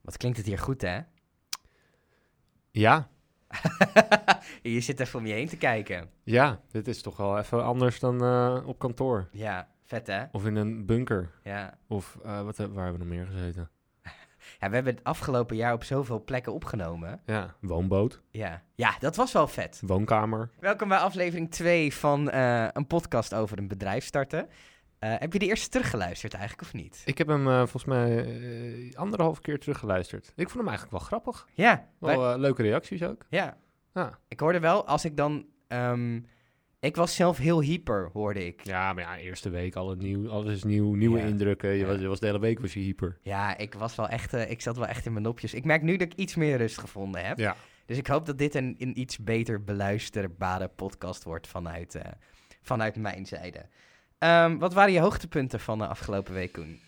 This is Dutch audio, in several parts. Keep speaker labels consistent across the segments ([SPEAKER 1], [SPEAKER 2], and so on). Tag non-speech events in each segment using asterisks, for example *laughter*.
[SPEAKER 1] Wat klinkt het hier goed, hè?
[SPEAKER 2] Ja,
[SPEAKER 1] Je zit even om je heen te kijken.
[SPEAKER 2] ja, dit is toch wel even anders dan eh, op kantoor.
[SPEAKER 1] Ja, vet hè?
[SPEAKER 2] Of in een bunker.
[SPEAKER 1] Ja.
[SPEAKER 2] Of eh, wat, heb- waar hebben we nog meer gezeten?
[SPEAKER 1] ja, we hebben het afgelopen jaar op zoveel plekken opgenomen.
[SPEAKER 2] Ja, woonboot,
[SPEAKER 1] Ja, ja dat was wel vet.
[SPEAKER 2] woonkamer.
[SPEAKER 1] Welkom bij aflevering 2 van eh, een podcast over een bedrijf starten. Eh, heb je de eerste teruggeluisterd eigenlijk of niet?
[SPEAKER 2] Ik heb hem eh, volgens mij eh, anderhalf keer teruggeluisterd. Ik vond hem eigenlijk wel grappig.
[SPEAKER 1] Ja,
[SPEAKER 2] Wel
[SPEAKER 1] wij-
[SPEAKER 2] eh, leuke reacties ook.
[SPEAKER 1] ja.
[SPEAKER 2] Ja.
[SPEAKER 1] ik hoorde wel, als ik dan... ehm, ik was zelf heel hyper, hoorde ik.
[SPEAKER 2] ja, maar ja, eerste week, al het nieuw, alles is nieuw, nieuwe
[SPEAKER 1] Ja.
[SPEAKER 2] indrukken. Je,
[SPEAKER 1] Ja.
[SPEAKER 2] was, je was de hele week was je hyper.
[SPEAKER 1] Ja, ik was wel echt, eh, ik zat wel echt in mijn nopjes. Ik merk nu dat ik iets meer rust gevonden heb.
[SPEAKER 2] Ja.
[SPEAKER 1] Dus ik hoop dat dit een, een iets beter beluisterbare podcast wordt vanuit, eh, vanuit mijn zijde. Ehm, wat waren je hoogtepunten van de afgelopen week,
[SPEAKER 2] *laughs*
[SPEAKER 1] Koen?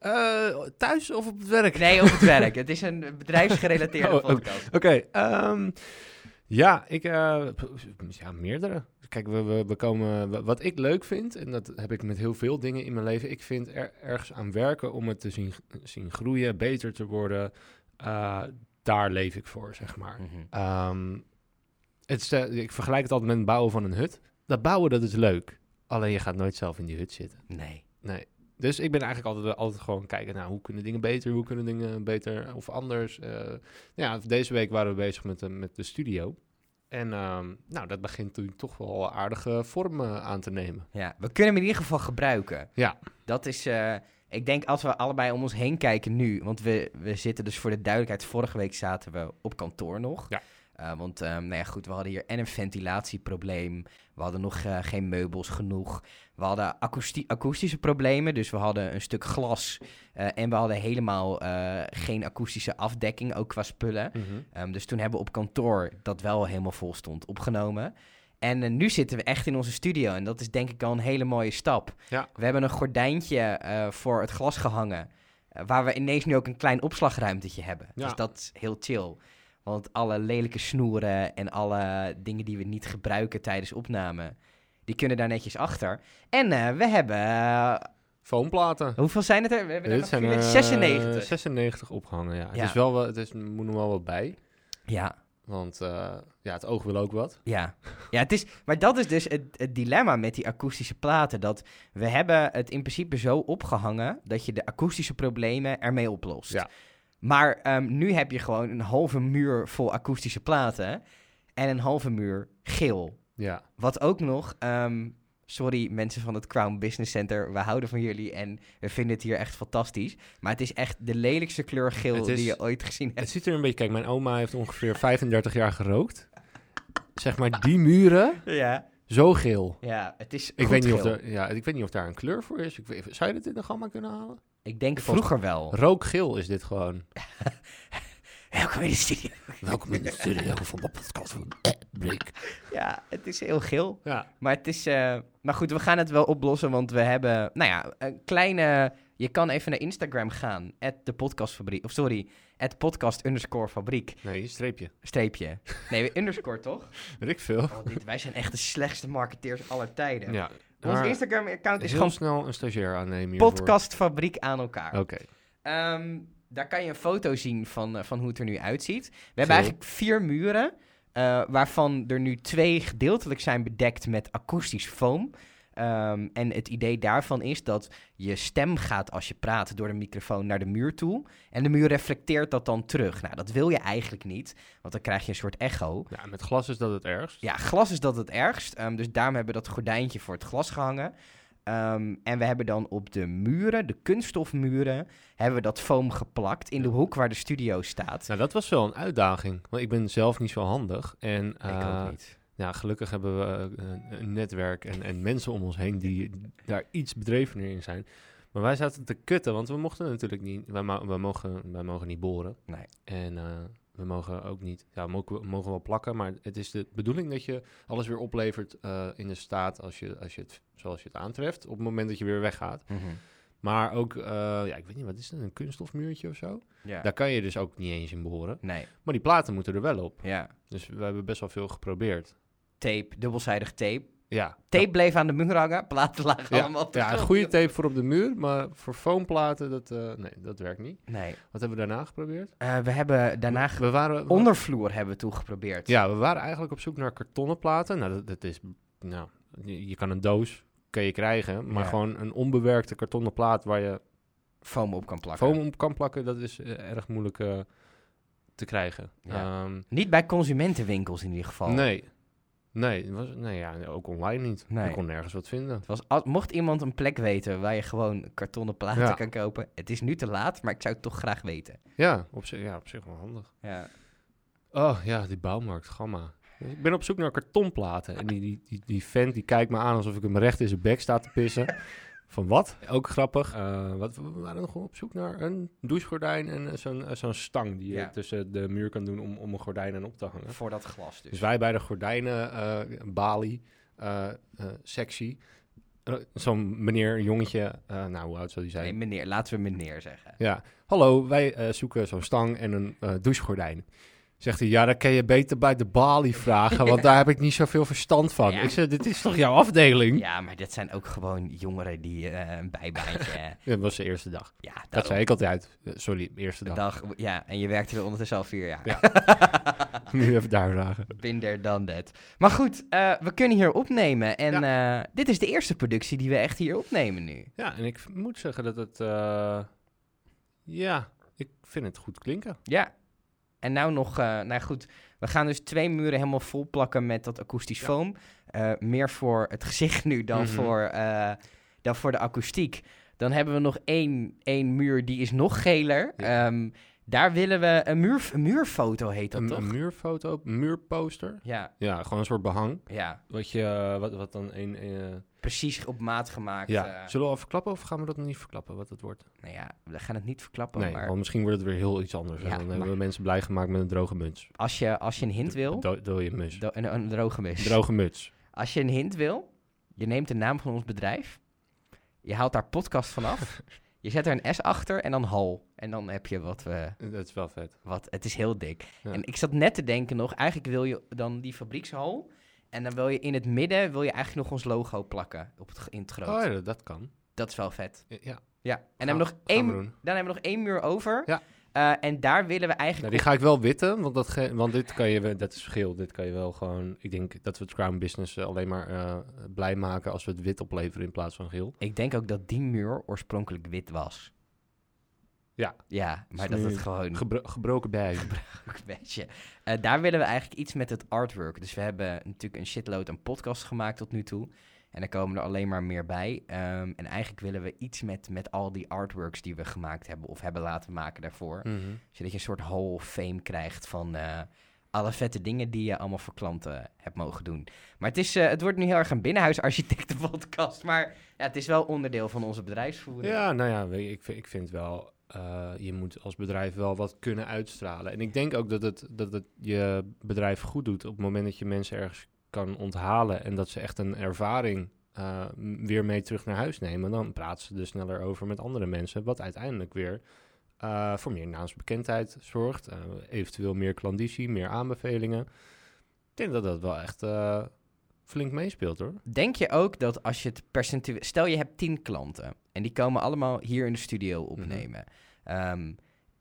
[SPEAKER 2] Eh, thuis of op het werk?
[SPEAKER 1] Nee, op het werk. Het is een bedrijfsgerelateerde
[SPEAKER 2] Oh, oh.
[SPEAKER 1] podcast.
[SPEAKER 2] Oké, ehm, ja, ik, eh, p- ja, meerdere. Kijk, we, we, we komen, wa- wat ik leuk vind, en dat heb ik met heel veel dingen in mijn leven, ik vind er, ergens aan werken om het te zien, zien groeien, beter te worden. Eh, daar leef ik voor, zeg maar.
[SPEAKER 1] Mhm.
[SPEAKER 2] Ehm, het is, eh, ik vergelijk het altijd met het bouwen van een hut. Dat bouwen, dat is leuk. Alleen je gaat nooit zelf in die hut zitten.
[SPEAKER 1] Nee.
[SPEAKER 2] Dus ik ben eigenlijk altijd, altijd gewoon kijken naar hoe kunnen dingen beter, hoe kunnen dingen beter of anders. Eh, nou ja, deze week waren we bezig met, de- met de studio. En ehm, nou, dat begint nu toch wel aardige vorm eh, aan te nemen.
[SPEAKER 1] Ja, we kunnen hem in ieder geval gebruiken.
[SPEAKER 2] Ja.
[SPEAKER 1] Dat is, eh, ik denk als we allebei om ons heen kijken nu, want we, we zitten dus voor de duidelijkheid, vorige week zaten we op kantoor nog.
[SPEAKER 2] Ja.
[SPEAKER 1] Eh, want ehm, nou ja, goed, we hadden hier en een ventilatieprobleem, we hadden nog eh, geen meubels genoeg, we hadden akoesti- akoestische problemen, dus we hadden een stuk glas eh, en we hadden helemaal eh, geen akoestische afdekking, ook qua spullen. Ehm, dus toen hebben we op kantoor dat wel helemaal vol stond opgenomen. En eh, nu zitten we echt in onze studio. En dat is denk ik al een hele mooie stap.
[SPEAKER 2] Ja.
[SPEAKER 1] We hebben een gordijntje eh, voor het glas gehangen. eh, waar we ineens nu ook een klein opslagruimtetje hebben.
[SPEAKER 2] Ja.
[SPEAKER 1] Dus dat is heel chill. Want alle lelijke snoeren en alle dingen die we niet gebruiken tijdens opname. Die kunnen daar netjes achter. En eh, we hebben. eh,
[SPEAKER 2] Foamplaten.
[SPEAKER 1] hoeveel zijn het er? Oh, We hebben er nog
[SPEAKER 2] eh,
[SPEAKER 1] vier- 96.
[SPEAKER 2] 96 opgehangen, ja.
[SPEAKER 1] Ja.
[SPEAKER 2] Het, is wel, wel- het is, moet nog wel wat bij,
[SPEAKER 1] Ja,
[SPEAKER 2] want eh, ja, het oog wil ook wat.
[SPEAKER 1] Ja, ja het is, maar dat is dus het, het dilemma met die akoestische platen. Dat we hebben het in principe zo opgehangen dat je de akoestische problemen ermee oplost.
[SPEAKER 2] Ja.
[SPEAKER 1] Maar ehm, nu heb je gewoon een halve muur vol akoestische platen en een halve muur geel.
[SPEAKER 2] Ja,
[SPEAKER 1] Wat ook nog, ehm, sorry mensen van het Crown Business Center, we houden van jullie en we vinden het hier echt fantastisch. Maar het is echt de lelijkste kleur geel
[SPEAKER 2] Het is-
[SPEAKER 1] die je ooit gezien hebt.
[SPEAKER 2] *laughs* het ziet er een beetje... Kijk, mijn oma heeft ongeveer 35 jaar gerookt. Zeg maar, die muren,
[SPEAKER 1] Ja,
[SPEAKER 2] zo geel.
[SPEAKER 1] ja het is
[SPEAKER 2] Ik weet, niet of
[SPEAKER 1] goedgeel.
[SPEAKER 2] er, ja, ik weet niet of daar een kleur voor is. Ik weet, zou je dit in de gamma kunnen halen?
[SPEAKER 1] Ik denk
[SPEAKER 2] Volgens-
[SPEAKER 1] vroeger wel.
[SPEAKER 2] Rookgeel is dit gewoon.
[SPEAKER 1] Welkom in de studio.
[SPEAKER 2] Welkom in de studio van de podcast van Blik.
[SPEAKER 1] Ja, het is heel geel.
[SPEAKER 2] Ja,
[SPEAKER 1] Maar het is... eh, maar goed, we gaan het wel oplossen, want we hebben... Nou ja, een kleine... Je kan even naar Instagram gaan. At de podcastfabriek. Of sorry, at podcast underscore fabriek.
[SPEAKER 2] nee, streepje.
[SPEAKER 1] Streepje. Nee, underscore *laughs* toch?
[SPEAKER 2] Weet ik veel.
[SPEAKER 1] Oh, dit, wij zijn echt de slechtste marketeers aller tijden.
[SPEAKER 2] Ja.
[SPEAKER 1] Ons
[SPEAKER 2] maar
[SPEAKER 1] Instagram account is
[SPEAKER 2] heel
[SPEAKER 1] gewoon
[SPEAKER 2] snel een stagiair aannemen hiervoor.
[SPEAKER 1] podcastfabriek aan elkaar.
[SPEAKER 2] Oké.
[SPEAKER 1] Ehm, daar kan je een foto zien van, eh, van hoe het er nu uitziet. We
[SPEAKER 2] Zo.
[SPEAKER 1] hebben eigenlijk vier muren, eh, waarvan er nu twee gedeeltelijk zijn bedekt met akoestisch foam. Ehm, en het idee daarvan is dat je stem gaat als je praat door de microfoon naar de muur toe. En de muur reflecteert dat dan terug. Nou, dat wil je eigenlijk niet, want dan krijg je een soort echo.
[SPEAKER 2] Ja, met glas is dat het ergst.
[SPEAKER 1] Ja, glas is dat het ergst. Ehm, dus daarom hebben we dat gordijntje voor het glas gehangen. Ehm, en we hebben dan op de muren, de kunststofmuren, hebben we dat foam geplakt in de hoek waar de studio staat.
[SPEAKER 2] Nou, dat was wel een uitdaging. Want ik ben zelf niet zo handig. En eh,
[SPEAKER 1] ik ook niet.
[SPEAKER 2] Ja, gelukkig hebben we eh, een, een netwerk en, en mensen om ons heen die daar iets bedrevener in zijn. Maar wij zaten te kutten, want we mochten natuurlijk niet. Wij, mo- wij mogen, wij mogen niet boren.
[SPEAKER 1] Nee.
[SPEAKER 2] En eh, we mogen ook niet. Ja, we mogen, we mogen wel plakken, maar het is de bedoeling dat je alles weer oplevert eh, in de staat als je, als je het, zoals je het aantreft. Op het moment dat je weer weggaat. Maar ook, eh, ja, ik weet niet, wat is het? Een kunststofmuurtje of zo?
[SPEAKER 1] Ja.
[SPEAKER 2] Daar kan je dus ook niet eens in boren.
[SPEAKER 1] Nee,
[SPEAKER 2] Maar die platen moeten er wel op.
[SPEAKER 1] ja.
[SPEAKER 2] Dus we hebben best wel veel geprobeerd.
[SPEAKER 1] Tape, dubbelzijdig tape.
[SPEAKER 2] Ja,
[SPEAKER 1] Tape bleef aan de muur hangen, platen lagen allemaal
[SPEAKER 2] ja,
[SPEAKER 1] op de
[SPEAKER 2] ja een
[SPEAKER 1] grond.
[SPEAKER 2] goede tape voor op de muur, maar voor foamplaten, dat, eh, nee, dat werkt niet.
[SPEAKER 1] Nee,
[SPEAKER 2] Wat hebben we daarna geprobeerd?
[SPEAKER 1] Eh, we hebben daarna
[SPEAKER 2] we waren,
[SPEAKER 1] ondervloer hebben we toen geprobeerd.
[SPEAKER 2] Ja, we waren eigenlijk op zoek naar kartonnen platen. Nou, dat, dat is, nou, je je kan een doos, kan je krijgen, maar
[SPEAKER 1] Ja.
[SPEAKER 2] gewoon een onbewerkte kartonnen plaat waar je
[SPEAKER 1] Foam op kan plakken.
[SPEAKER 2] foam op kan plakken, dat is eh, erg moeilijk eh, te krijgen.
[SPEAKER 1] Ja.
[SPEAKER 2] Ehm,
[SPEAKER 1] Niet bij consumentenwinkels in ieder geval.
[SPEAKER 2] Nee. Nee, het was, nee ja, ook online niet.
[SPEAKER 1] Nee.
[SPEAKER 2] Ik kon nergens wat vinden.
[SPEAKER 1] Het was, als- mocht iemand een plek weten waar je gewoon kartonnen platen
[SPEAKER 2] Ja.
[SPEAKER 1] kan kopen, het is nu te laat, maar ik zou het toch graag weten.
[SPEAKER 2] Ja, op zich, ja, op zich wel handig.
[SPEAKER 1] Ja.
[SPEAKER 2] Oh ja, die bouwmarkt, gamma. Ik ben op zoek naar kartonplaten. En die, die, die, die vent die kijkt me aan alsof ik hem recht in zijn bek sta te pissen. Van wat? Ook grappig. Eh, wat, we waren nog op zoek naar een douchegordijn en eh, zo'n eh, zo'n stang die je
[SPEAKER 1] Ja.
[SPEAKER 2] tussen de muur kan doen om, om een gordijn aan op te hangen.
[SPEAKER 1] Voor dat glas dus.
[SPEAKER 2] Dus wij bij de gordijnen, eh balie, eh, eh, sexy. Eh, zo'n meneer, een jongetje, eh, nou hoe oud zou die zijn?
[SPEAKER 1] Nee, meneer, laten we meneer zeggen.
[SPEAKER 2] Ja, hallo, wij eh, zoeken zo'n stang en een eh, douchegordijn. Zegt hij, ja, dat kan je beter bij de balie vragen, want daar heb ik niet zoveel verstand van.
[SPEAKER 1] Ja.
[SPEAKER 2] Ik zeg, dit is toch jouw afdeling? Ja.
[SPEAKER 1] Ja, maar dit zijn ook gewoon jongeren die eh, een bijbaantje... *laughs* eh,
[SPEAKER 2] Dat was de eerste dag.
[SPEAKER 1] ja,
[SPEAKER 2] Dat
[SPEAKER 1] daarom.
[SPEAKER 2] zei ik altijd. Eh, Sorry, eerste
[SPEAKER 1] Een
[SPEAKER 2] dag.
[SPEAKER 1] dag. Ja, en je werkte er ondertussen al vier jaar.
[SPEAKER 2] Ja. Nu even daar vragen.
[SPEAKER 1] Binder dan dat. Maar goed, eh, we kunnen hier opnemen. En eh, dit is de eerste productie die we echt hier opnemen nu.
[SPEAKER 2] Ja, en ik moet zeggen dat het... eh, ja, ik vind het goed klinken.
[SPEAKER 1] Ja. En nou nog, eh, nou goed, we gaan dus twee muren helemaal vol plakken met dat akoestisch
[SPEAKER 2] Ja.
[SPEAKER 1] foam. Eh, meer voor het gezicht nu dan,
[SPEAKER 2] Mhm.
[SPEAKER 1] voor, eh, dan voor de akoestiek. Dan hebben we nog één, één muur, die is nog geler.
[SPEAKER 2] Ja.
[SPEAKER 1] Ehm, daar willen we een, muur, een muurfoto, heet dat
[SPEAKER 2] Een,
[SPEAKER 1] toch?
[SPEAKER 2] een muurfoto, een muurposter.
[SPEAKER 1] Ja,
[SPEAKER 2] Ja, gewoon een soort behang.
[SPEAKER 1] ja,
[SPEAKER 2] Wat, je, wat, wat dan een... eh,
[SPEAKER 1] precies op maat gemaakt.
[SPEAKER 2] ja.
[SPEAKER 1] eh.
[SPEAKER 2] Zullen we al verklappen of gaan we dat nog niet verklappen, wat het wordt?
[SPEAKER 1] nou ja, we gaan het niet verklappen,
[SPEAKER 2] Nee,
[SPEAKER 1] maar
[SPEAKER 2] want misschien wordt het weer heel iets anders.
[SPEAKER 1] Ja,
[SPEAKER 2] en dan hebben
[SPEAKER 1] maar-
[SPEAKER 2] we mensen blij gemaakt met een droge muts.
[SPEAKER 1] als je, als je een hint wil...
[SPEAKER 2] Do- Dode muts.
[SPEAKER 1] do- een, een droge mis.
[SPEAKER 2] Droge muts.
[SPEAKER 1] Als je een hint wil, je neemt de naam van ons bedrijf. Je haalt daar podcast vanaf.
[SPEAKER 2] *laughs*
[SPEAKER 1] je zet er een S achter en dan hal. En dan heb je wat we.
[SPEAKER 2] Eh, Dat is wel vet.
[SPEAKER 1] Wat, het is heel dik.
[SPEAKER 2] Ja.
[SPEAKER 1] En ik zat net te denken nog, eigenlijk wil je dan die fabriekshal. En dan wil je in het midden wil je eigenlijk nog ons logo plakken op het, ge- in het groot.
[SPEAKER 2] Oh ja, dat kan.
[SPEAKER 1] Dat is wel vet.
[SPEAKER 2] Ja, Ja,
[SPEAKER 1] Ja. En dan,
[SPEAKER 2] Gaan-
[SPEAKER 1] hebben we nog
[SPEAKER 2] gaan
[SPEAKER 1] één,
[SPEAKER 2] we doen.
[SPEAKER 1] dan hebben we nog één muur over.
[SPEAKER 2] Ja.
[SPEAKER 1] Eh, en daar willen we
[SPEAKER 2] Nou,
[SPEAKER 1] eigenlijk.
[SPEAKER 2] die ga ik wel witten, want, dat ge- want dit kan je, we- dat is geel. Dit kan je wel gewoon. Ik denk dat we het Crown Business eh, alleen maar eh, blij maken als we het wit opleveren in plaats van geel.
[SPEAKER 1] Ik denk ook dat die muur oorspronkelijk wit was.
[SPEAKER 2] Ja.
[SPEAKER 1] Ja, maar
[SPEAKER 2] Dus
[SPEAKER 1] dat
[SPEAKER 2] nu
[SPEAKER 1] het gewoon.
[SPEAKER 2] Gebro- gebroken bij.
[SPEAKER 1] Ook een beetje. Eh, daar willen we eigenlijk iets met het artwork. Dus we hebben natuurlijk een shitload aan podcasts gemaakt tot nu toe. En er komen er alleen maar meer bij. Ehm, en eigenlijk willen we iets met, met al die artworks die we gemaakt hebben of hebben laten maken daarvoor.
[SPEAKER 2] Mhm.
[SPEAKER 1] Zodat je een soort hall of fame krijgt van eh, alle vette dingen die je allemaal voor klanten hebt mogen doen. Maar het, is, eh, het wordt nu heel erg een binnenhuisarchitectenpodcast. Maar ja, het is wel onderdeel van onze bedrijfsvoering.
[SPEAKER 2] Ja, nou ja, weet je, ik, vind- ik vind wel, eh, je moet als bedrijf wel wat kunnen uitstralen. En ik denk ook dat het, dat het je bedrijf goed doet op het moment dat je mensen ergens kan onthalen en dat ze echt een ervaring eh, m- weer mee terug naar huis nemen. Dan praten ze er sneller over met andere mensen, wat uiteindelijk weer eh, voor meer naamsbekendheid zorgt. eh, eventueel meer klandizie, meer aanbevelingen. Ik denk dat dat wel echt eh, flink meespeelt hoor.
[SPEAKER 1] Denk je ook dat als je het percentueel... Stel, je hebt 10 klanten. En die komen allemaal hier in de studio opnemen. Ehm,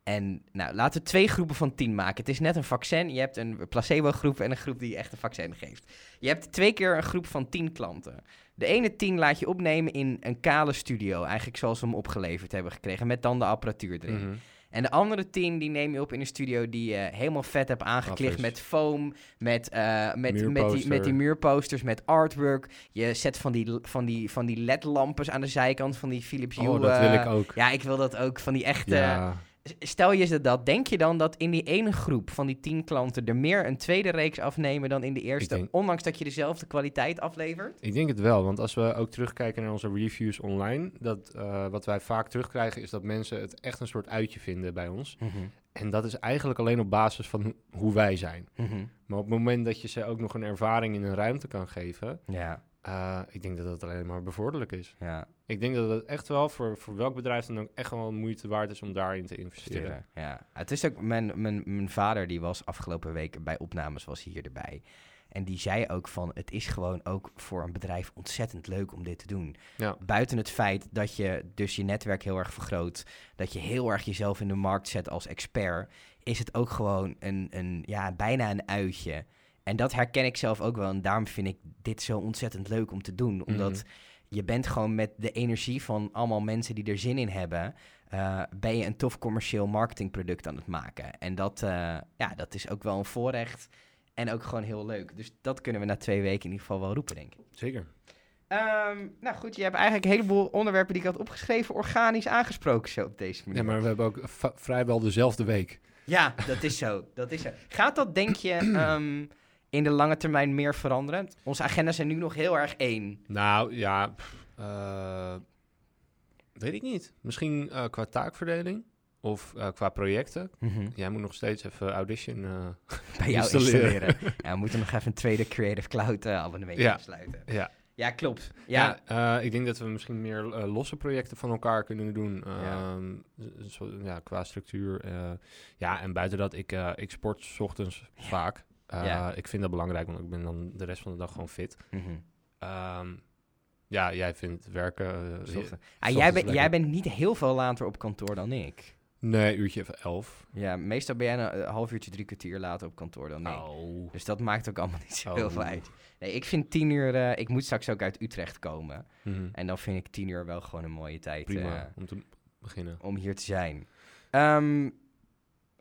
[SPEAKER 1] en nou, laten we twee groepen van 10 maken. Het is net een vaccin. Je hebt een placebo-groep en een groep die echt een vaccin geeft. Je hebt twee keer een groep van 10 klanten. De ene 10 laat je opnemen in een kale studio. Eigenlijk zoals we hem opgeleverd hebben gekregen. Met dan de apparatuur erin.
[SPEAKER 2] Mhm.
[SPEAKER 1] En de andere tien die neem je op in een studio die je helemaal vet hebt aangeklikt
[SPEAKER 2] Af is.
[SPEAKER 1] met foam, met, eh, met, met, die,
[SPEAKER 2] Muurposter.
[SPEAKER 1] met die muurposters, met artwork. Je zet van die, van die, van die LED-lampes aan de zijkant van die Philips Hue.
[SPEAKER 2] Oh, dat wil
[SPEAKER 1] eh,
[SPEAKER 2] ik ook.
[SPEAKER 1] Ja, ik wil dat ook van die echte...
[SPEAKER 2] Ja.
[SPEAKER 1] S- Stel je ze dat, denk je dan dat in die ene groep van die tien klanten er meer een tweede reeks afnemen dan in de eerste,
[SPEAKER 2] denk-
[SPEAKER 1] ondanks dat je dezelfde kwaliteit aflevert?
[SPEAKER 2] Ik denk het wel, want als we ook terugkijken naar onze reviews online, dat eh, wat wij vaak terugkrijgen is dat mensen het echt een soort uitje vinden bij ons. En dat is eigenlijk alleen op basis van ho- hoe wij zijn.
[SPEAKER 1] Mhm.
[SPEAKER 2] Maar op het moment dat je ze ook nog een ervaring in een ruimte kan geven,
[SPEAKER 1] Ja,
[SPEAKER 2] eh, ik denk dat dat alleen maar bevorderlijk is.
[SPEAKER 1] ja,
[SPEAKER 2] Ik denk dat het echt wel voor, voor welk bedrijf dan ook echt wel moeite waard is om daarin te investeren.
[SPEAKER 1] Tuurlijk, Ja, het is ook mijn, mijn, mijn vader, die was afgelopen week bij opnames, was hier erbij. En die zei ook van, het is gewoon ook voor een bedrijf ontzettend leuk om dit te doen.
[SPEAKER 2] Ja.
[SPEAKER 1] Buiten het feit dat je dus je netwerk heel erg vergroot, dat je heel erg jezelf in de markt zet als expert, is het ook gewoon een, een ja, bijna een uitje. En dat herken ik zelf ook wel. En daarom vind ik dit zo ontzettend leuk om te doen. Omdat
[SPEAKER 2] Mhm.
[SPEAKER 1] je bent gewoon met de energie van allemaal mensen die er zin in hebben, eh, ben je een tof commercieel marketingproduct aan het maken. En dat, eh, ja, dat is ook wel een voorrecht en ook gewoon heel leuk. Dus dat kunnen we na twee weken in ieder geval wel roepen, denk ik.
[SPEAKER 2] Zeker.
[SPEAKER 1] Ehm, nou goed, je hebt eigenlijk een heleboel onderwerpen die ik had opgeschreven organisch aangesproken zo op deze manier.
[SPEAKER 2] Ja, maar we hebben ook va- vrijwel dezelfde week.
[SPEAKER 1] Ja, dat is zo. Dat is zo. Gaat dat, denk
[SPEAKER 2] *clears throat*
[SPEAKER 1] je, ehm, in de lange termijn meer veranderen? Onze agendas zijn nu nog heel erg één.
[SPEAKER 2] Nou ja, pff, eh, weet ik niet. Misschien eh, qua taakverdeling of eh, qua projecten. Jij moet nog steeds even audition. eh,
[SPEAKER 1] Bij jou
[SPEAKER 2] Installeren.
[SPEAKER 1] installeren.
[SPEAKER 2] *laughs*
[SPEAKER 1] Ja, we moeten nog even een tweede Creative Cloud eh, abonnement
[SPEAKER 2] Ja.
[SPEAKER 1] sluiten.
[SPEAKER 2] ja.
[SPEAKER 1] Ja, klopt. Ja,
[SPEAKER 2] Ja, eh, ik denk dat we misschien meer eh, losse projecten van elkaar kunnen doen. ehm, z- zo- ja, qua structuur. eh. ja, en buiten dat, ik, eh, ik sport 's ochtends
[SPEAKER 1] Ja.
[SPEAKER 2] vaak. Eh,
[SPEAKER 1] Ja.
[SPEAKER 2] Ik vind dat belangrijk, want ik ben dan de rest van de dag gewoon fit.
[SPEAKER 1] Mhm.
[SPEAKER 2] Ehm, ja, jij vindt werken... eh,
[SPEAKER 1] Zocht- Ah,
[SPEAKER 2] ochtends
[SPEAKER 1] jij, bent- jij
[SPEAKER 2] lekker.
[SPEAKER 1] bent niet heel veel later op kantoor dan ik.
[SPEAKER 2] nee, uurtje even elf.
[SPEAKER 1] Ja, meestal ben jij een eh, half uurtje, drie kwartier later op kantoor dan ik.
[SPEAKER 2] Oh.
[SPEAKER 1] Dus dat maakt ook allemaal *laughs* niet zo heel
[SPEAKER 2] Oh.
[SPEAKER 1] veel uit. Nee, ik vind tien uur... eh, ik moet straks ook uit Utrecht komen.
[SPEAKER 2] Mhm.
[SPEAKER 1] En dan vind ik tien uur wel gewoon een mooie tijd.
[SPEAKER 2] Prima,
[SPEAKER 1] eh,
[SPEAKER 2] om te beginnen.
[SPEAKER 1] om hier te zijn. Ehm,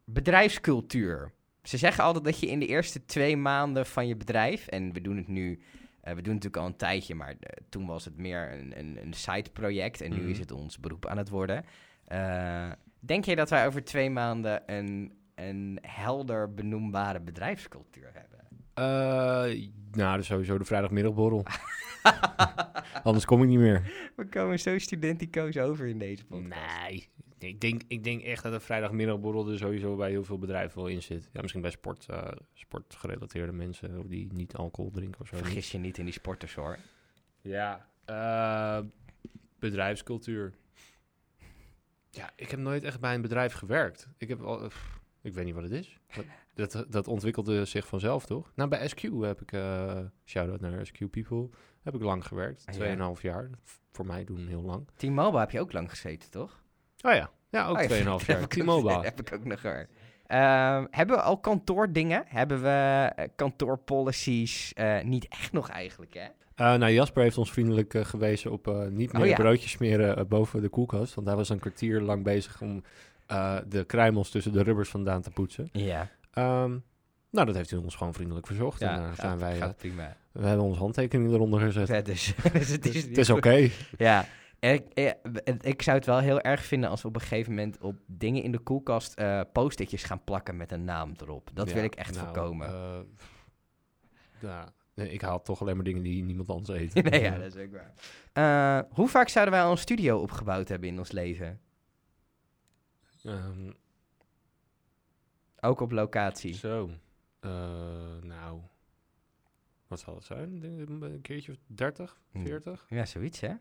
[SPEAKER 1] bedrijfscultuur. Ze zeggen altijd dat je in de eerste twee maanden van je bedrijf, en we doen het nu, eh, we doen het natuurlijk al een tijdje, maar eh, toen was het meer een, een, een side-project en nu
[SPEAKER 2] Mhm.
[SPEAKER 1] is het ons beroep aan het worden. Eh, denk je dat wij over twee maanden een, een helder benoembare bedrijfscultuur hebben? *laughs*
[SPEAKER 2] Eh, nou, dus sowieso de *laughs* vrijdagmiddagborrel. Anders kom ik niet meer.
[SPEAKER 1] We komen zo studentico's over in deze podcast.
[SPEAKER 2] Nee, ik denk, ik denk echt dat een vrijdagmiddagborrel er sowieso bij heel veel bedrijven wel in zit. Ja, misschien bij sport, eh, sportgerelateerde mensen of die niet alcohol drinken of zo.
[SPEAKER 1] Vergis je niet in die sporters hoor.
[SPEAKER 2] Ja, eh, bedrijfscultuur. Ja, ik heb nooit echt bij een bedrijf gewerkt. Ik heb al, eh, pff, ik weet niet wat het is. Wat- Dat, dat ontwikkelde zich vanzelf, toch? Nou, bij SQ heb ik, eh shout-out naar SQ People, heb ik lang gewerkt.
[SPEAKER 1] Ah, ja.
[SPEAKER 2] Tweeënhalf jaar. Voor mij doen heel lang.
[SPEAKER 1] Team Mobile heb je ook lang gezeten, toch?
[SPEAKER 2] Oh ja, ja ook
[SPEAKER 1] Oh ja, *laughs*
[SPEAKER 2] tweeënhalf
[SPEAKER 1] dat
[SPEAKER 2] jaar.
[SPEAKER 1] heb ik ook- dat
[SPEAKER 2] T-Mobile.
[SPEAKER 1] heb ik ook nog hoor. Ehm, hebben we al kantoordingen? Hebben we eh, kantoorpolicies? Eh, niet echt nog eigenlijk, hè?
[SPEAKER 2] Eh, nou, Jasper heeft ons vriendelijk eh, gewezen op eh, niet
[SPEAKER 1] Oh,
[SPEAKER 2] meer
[SPEAKER 1] ja.
[SPEAKER 2] broodjes smeren eh, boven de koelkast. Want hij was een kwartier lang bezig om eh, de kruimels tussen de rubbers vandaan te poetsen.
[SPEAKER 1] Ja,
[SPEAKER 2] Ehm, nou, dat heeft hij ons gewoon vriendelijk verzocht. en daar zijn wij, eh,
[SPEAKER 1] prima.
[SPEAKER 2] we hebben onze handtekening eronder gezet.
[SPEAKER 1] Ja, dus, *laughs* dus het is,
[SPEAKER 2] het is oké.
[SPEAKER 1] Ja. En Ik, eh, en ik zou het wel heel erg vinden als we op een gegeven moment op dingen in de koelkast eh post-itjes gaan plakken met een naam erop. Dat
[SPEAKER 2] Ja,
[SPEAKER 1] wil ik echt
[SPEAKER 2] nou,
[SPEAKER 1] voorkomen.
[SPEAKER 2] eh, ja, nee, ik haal toch alleen maar dingen die niemand anders eet.
[SPEAKER 1] *laughs* *laughs* nee, ja, dat is ook waar. Eh, hoe vaak zouden wij al een studio opgebouwd hebben in ons leven?
[SPEAKER 2] Ehm,
[SPEAKER 1] Ook op locatie.
[SPEAKER 2] Zo. Eh, nou, wat zal het zijn? Ik denk Een keertje of 30,
[SPEAKER 1] Hmm.
[SPEAKER 2] 40?
[SPEAKER 1] Ja, zoiets hè.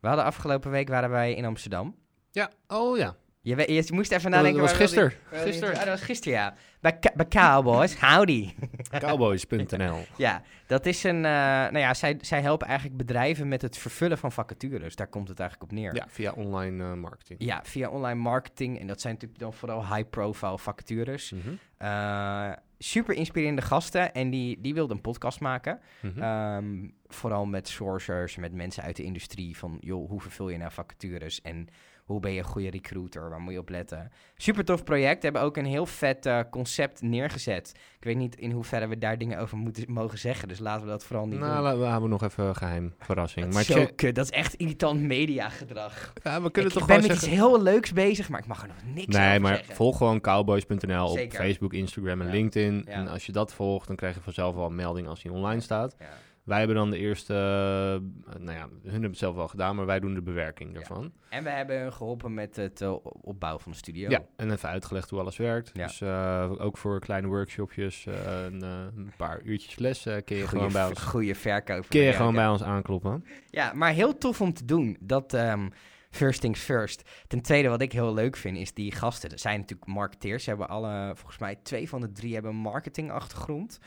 [SPEAKER 1] We hadden afgelopen week waren wij in Amsterdam.
[SPEAKER 2] Ja, oh ja.
[SPEAKER 1] Je, we- je moest even
[SPEAKER 2] dat
[SPEAKER 1] nadenken.
[SPEAKER 2] was
[SPEAKER 1] waar wilde ik- *laughs* waar
[SPEAKER 2] gisteren.
[SPEAKER 1] wilde ik-
[SPEAKER 2] Gisteren.
[SPEAKER 1] Ah, dat was gisteren, ja. Bij, Ca- bij Cowboys, *laughs* howdy.
[SPEAKER 2] Cowboys.nl.
[SPEAKER 1] *laughs* Ja, dat is een... eh, nou ja, zij, zij helpen eigenlijk bedrijven met het vervullen van vacatures. Daar komt het eigenlijk op neer.
[SPEAKER 2] Ja, via online eh, marketing.
[SPEAKER 1] Ja, via online marketing. En dat zijn natuurlijk dan vooral high-profile vacatures.
[SPEAKER 2] Mhm,
[SPEAKER 1] Eh, super inspirerende gasten. En die, die wilden een podcast maken.
[SPEAKER 2] mhm.
[SPEAKER 1] Ehm, vooral met sourcers, met mensen uit de industrie. Van joh, hoe vervul je nou vacatures? En hoe ben je een goede recruiter? Waar moet je op letten? Super tof project. Hebben ook een heel vet eh, concept neergezet. Ik weet niet in hoeverre we daar dingen over moeten, mogen zeggen. Dus laten we dat vooral niet
[SPEAKER 2] nou,
[SPEAKER 1] doen.
[SPEAKER 2] la- we hebben nog even een geheim verrassing.
[SPEAKER 1] Dat
[SPEAKER 2] Maar
[SPEAKER 1] is, zo
[SPEAKER 2] check-
[SPEAKER 1] kut. dat is echt irritant mediagedrag.
[SPEAKER 2] ja, we
[SPEAKER 1] Ik,
[SPEAKER 2] kunnen
[SPEAKER 1] ik
[SPEAKER 2] toch
[SPEAKER 1] ben
[SPEAKER 2] wel
[SPEAKER 1] met
[SPEAKER 2] zeggen...
[SPEAKER 1] iets heel leuks bezig, maar ik mag er nog niks
[SPEAKER 2] Nee,
[SPEAKER 1] over
[SPEAKER 2] maar
[SPEAKER 1] zeggen.
[SPEAKER 2] volg gewoon cowboys.nl op
[SPEAKER 1] Zeker.
[SPEAKER 2] Facebook, Instagram en
[SPEAKER 1] Ja.
[SPEAKER 2] LinkedIn.
[SPEAKER 1] Ja.
[SPEAKER 2] En als je dat volgt, dan krijg je vanzelf wel een melding als hij online staat.
[SPEAKER 1] Ja.
[SPEAKER 2] Wij hebben dan de eerste, eh, nou ja, hun hebben het zelf wel gedaan, maar wij doen de bewerking daarvan.
[SPEAKER 1] En we hebben hun geholpen met het eh, opbouwen van de studio.
[SPEAKER 2] Ja, en even uitgelegd hoe alles werkt.
[SPEAKER 1] Ja.
[SPEAKER 2] Dus eh, ook voor kleine workshopjes, eh, een, eh, een paar uurtjes les eh, kun je gewoon bij ons,
[SPEAKER 1] Goede verkoop.
[SPEAKER 2] kun je gewoon bij ons aankloppen.
[SPEAKER 1] Ja, maar heel tof om te doen. Dat ehm, first things first. Ten tweede, wat ik heel leuk vind, is die gasten. Dat zijn natuurlijk marketeers. Ze hebben alle, volgens mij twee van de drie hebben een marketingachtergrond.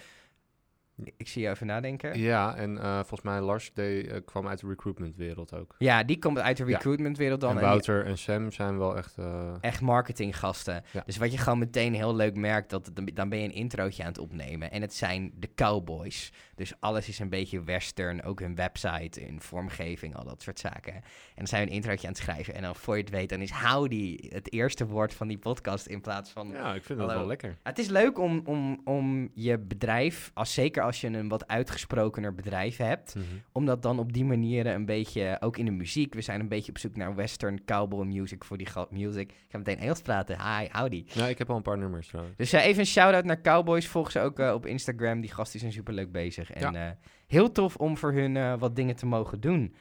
[SPEAKER 1] Ik zie jou even nadenken.
[SPEAKER 2] Ja, en eh, volgens mij Lars deed, eh, kwam uit de recruitmentwereld ook.
[SPEAKER 1] Ja, die komt uit de
[SPEAKER 2] Ja.
[SPEAKER 1] recruitmentwereld dan.
[SPEAKER 2] en
[SPEAKER 1] en die-
[SPEAKER 2] Wouter en Sam zijn wel echt... eh,
[SPEAKER 1] echt marketinggasten.
[SPEAKER 2] Ja.
[SPEAKER 1] Dus wat je gewoon meteen heel leuk merkt, dat, dan- dan ben je een introotje aan het opnemen. En het zijn de cowboys. Dus alles is een beetje western, ook hun website, hun vormgeving, al dat soort zaken. En dan zijn we een introotje aan het schrijven. En dan voor je het weet, dan is howdy het eerste woord van die podcast in plaats van...
[SPEAKER 2] ja, ik vind dat
[SPEAKER 1] Hallo.
[SPEAKER 2] wel lekker.
[SPEAKER 1] Ja, het is leuk om, om, om je bedrijf, als, zeker als je een wat uitgesprokener bedrijf hebt,
[SPEAKER 2] Mhm.
[SPEAKER 1] om dat dan op die manier een beetje, ook in de muziek, we zijn een beetje op zoek naar western cowboy music voor die ga- music. Ik ga meteen Engels praten, hi, howdy.
[SPEAKER 2] Ja, Nou, ik heb al een paar nummers trouwens.
[SPEAKER 1] Dus eh, even een shout-out naar Cowboys, volg ze ook eh, op Instagram, die gasten zijn superleuk bezig. En eh, heel tof om voor hun eh, wat dingen te mogen doen.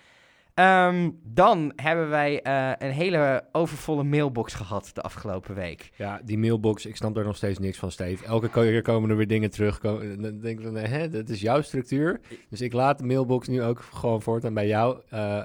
[SPEAKER 1] Ehm, dan hebben wij eh, een hele overvolle mailbox gehad de afgelopen week.
[SPEAKER 2] Ja, die mailbox, ik snap daar nog steeds niks van, Steve. Elke keer komen er weer dingen terug. ko- en Dan denk ik van, hè, dat is jouw structuur. Dus ik laat de mailbox nu ook gewoon voortaan bij jou. Eh,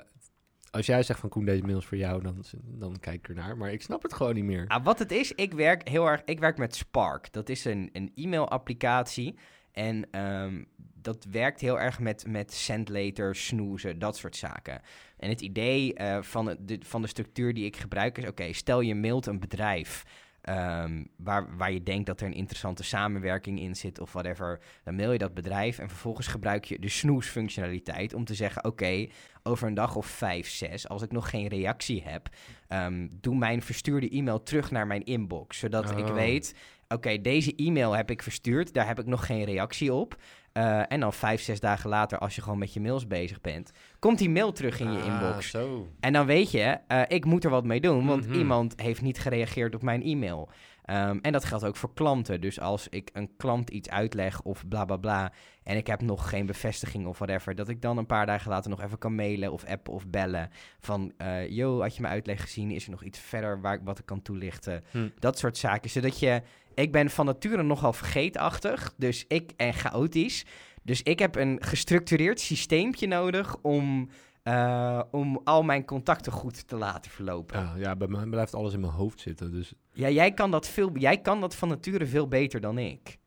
[SPEAKER 2] als jij zegt van, Koen, deze mail is voor jou, dan, dan kijk ik ernaar. Maar ik snap het gewoon niet meer.
[SPEAKER 1] Ah, wat het is, ik werk heel erg. Ik werk met Spark. Dat is een, een e-mail-applicatie. En ehm, dat werkt heel erg met, met sendlater, snoezen, dat soort zaken. En het idee eh, van, het- de, van de structuur die ik gebruik is: oké, stel je mailt een bedrijf. ehm, waar, waar je denkt dat er een interessante samenwerking in zit of whatever, dan mail je dat bedrijf en vervolgens gebruik je de snoes-functionaliteit om te zeggen: Oké, over een dag of vijf, zes, als ik nog geen reactie heb, Ehm, doe mijn verstuurde e-mail terug naar mijn inbox. Zodat ik
[SPEAKER 2] Oh.
[SPEAKER 1] weet, oké, deze e-mail heb ik verstuurd. Daar heb ik nog geen reactie op. Eh, en dan vijf, zes dagen later, als je gewoon met je mails bezig bent, komt die mail terug in je
[SPEAKER 2] Ah,
[SPEAKER 1] inbox.
[SPEAKER 2] zo.
[SPEAKER 1] En dan weet je, eh, ik moet er wat mee doen, want
[SPEAKER 2] Mhm.
[SPEAKER 1] iemand heeft niet gereageerd op mijn e-mail. Ehm, en dat geldt ook voor klanten. Dus als ik een klant iets uitleg of bla bla bla, en ik heb nog geen bevestiging of whatever, dat ik dan een paar dagen later nog even kan mailen of appen of bellen. Van, eh, yo, had je mijn uitleg gezien? Is er nog iets verder waar ik wat ik kan toelichten?
[SPEAKER 2] Hm.
[SPEAKER 1] Dat soort zaken. Zodat je, ik ben van nature nogal vergeetachtig, dus ik en chaotisch. Dus ik heb een gestructureerd systeempje nodig om eh, om al mijn contacten goed te laten verlopen. Ja.
[SPEAKER 2] Ja, ja, bij mij blijft alles in mijn hoofd zitten. Dus
[SPEAKER 1] jij, kan dat veel, jij kan dat van nature veel beter dan ik.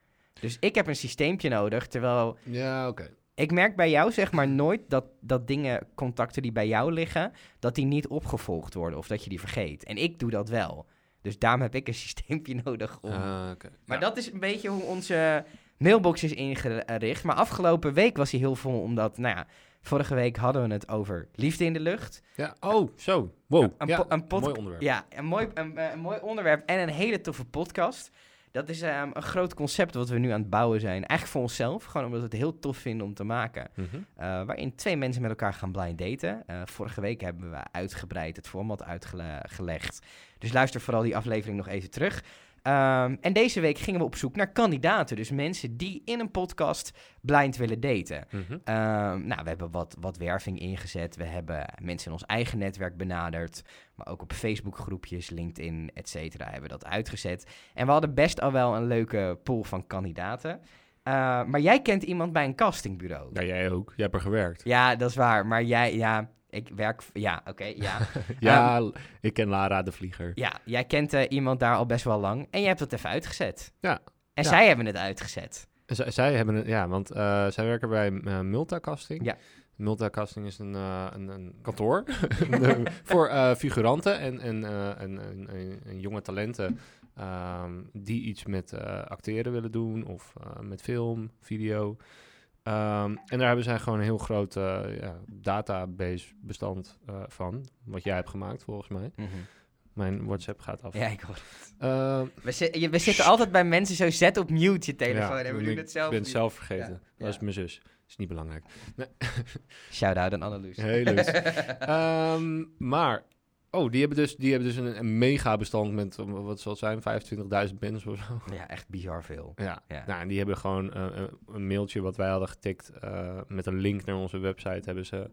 [SPEAKER 1] Dus ik heb een systeempje nodig, terwijl
[SPEAKER 2] ja, oké.
[SPEAKER 1] ik merk bij jou zeg maar nooit dat, dat dingen, contacten die bij jou liggen, dat die niet opgevolgd worden of dat je die vergeet. En ik doe dat wel. Dus daarom heb ik een *laughs* systeempje nodig om...
[SPEAKER 2] Ah, oké.
[SPEAKER 1] Maar
[SPEAKER 2] Ja.
[SPEAKER 1] dat is een beetje hoe onze mailbox is ingericht. Maar afgelopen week was hij heel vol, omdat, nou ja, vorige week hadden we het over liefde in de lucht.
[SPEAKER 2] Ja, oh, zo. Wow. Ja,
[SPEAKER 1] Een, po- een pod-
[SPEAKER 2] mooi onderwerp.
[SPEAKER 1] Ja, een mooi, een, eh, een mooi onderwerp en een hele toffe podcast. Dat is ehm, een groot concept wat we nu aan het bouwen zijn. Eigenlijk voor onszelf, gewoon omdat we het heel tof vinden om te maken.
[SPEAKER 2] Mhm.
[SPEAKER 1] Eh, waarin twee mensen met elkaar gaan blind daten. Eh, vorige week hebben we uitgebreid het format uitgelegd. Dus luister vooral die aflevering nog even terug. Ehm, en deze week gingen we op zoek naar kandidaten. Dus mensen die in een podcast blind willen daten.
[SPEAKER 2] Mhm.
[SPEAKER 1] Ehm, nou, we hebben wat, wat werving ingezet. We hebben mensen in ons eigen netwerk benaderd. Maar ook op Facebookgroepjes, LinkedIn, et cetera, hebben we dat uitgezet. En we hadden best al wel een leuke pool van kandidaten. Eh, maar jij kent iemand bij een castingbureau.
[SPEAKER 2] Ja, jij ook. Jij hebt er gewerkt.
[SPEAKER 1] Ja, dat is waar. Maar jij, ja, ik werk... Ja, oké, ja.
[SPEAKER 2] *laughs* Ja, ik ken Lara de Vlieger.
[SPEAKER 1] ja, jij kent eh, iemand daar al best wel lang. En jij hebt dat even uitgezet.
[SPEAKER 2] Ja,
[SPEAKER 1] En
[SPEAKER 2] ja.
[SPEAKER 1] zij hebben het
[SPEAKER 2] *laughs*
[SPEAKER 1] uitgezet.
[SPEAKER 2] Z- zij hebben een, ja, want eh, zij werken bij eh, Multicasting.
[SPEAKER 1] Ja.
[SPEAKER 2] Multicasting is een, eh, een, een
[SPEAKER 1] *laughs*
[SPEAKER 2] *laughs* kantoor Een, eh,
[SPEAKER 1] Mhm.
[SPEAKER 2] voor eh, figuranten en, en, eh, en, en, en- en jonge talenten ehm, die iets met eh, acteren willen doen of eh, met film, video. Ehm, en daar hebben zij gewoon een heel groot eh, ja, database bestand eh, van, wat jij hebt gemaakt volgens mij. Mijn WhatsApp gaat af.
[SPEAKER 1] Ja, ik hoor het.
[SPEAKER 2] Ehm,
[SPEAKER 1] We, zi- je- we zitten altijd bij mensen zo zet op mute je telefoon.
[SPEAKER 2] Ja,
[SPEAKER 1] en we doen
[SPEAKER 2] ik
[SPEAKER 1] het zelf
[SPEAKER 2] ben het
[SPEAKER 1] niet.
[SPEAKER 2] zelf vergeten.
[SPEAKER 1] Ja,
[SPEAKER 2] Dat
[SPEAKER 1] ja.
[SPEAKER 2] is mijn zus. Is niet belangrijk.
[SPEAKER 1] Shout-out aan Anneloes.
[SPEAKER 2] Heel
[SPEAKER 1] *laughs*
[SPEAKER 2] leuk. Ehm, maar, oh, die hebben dus, die hebben dus een, een mega bestand met, um, wat zal het zijn, 25.000 mensen of zo.
[SPEAKER 1] Ja, echt bizar veel.
[SPEAKER 2] Ja.
[SPEAKER 1] Ja.
[SPEAKER 2] Nou, en die hebben gewoon eh, een- een mailtje wat wij hadden getikt eh, met een link naar onze website hebben ze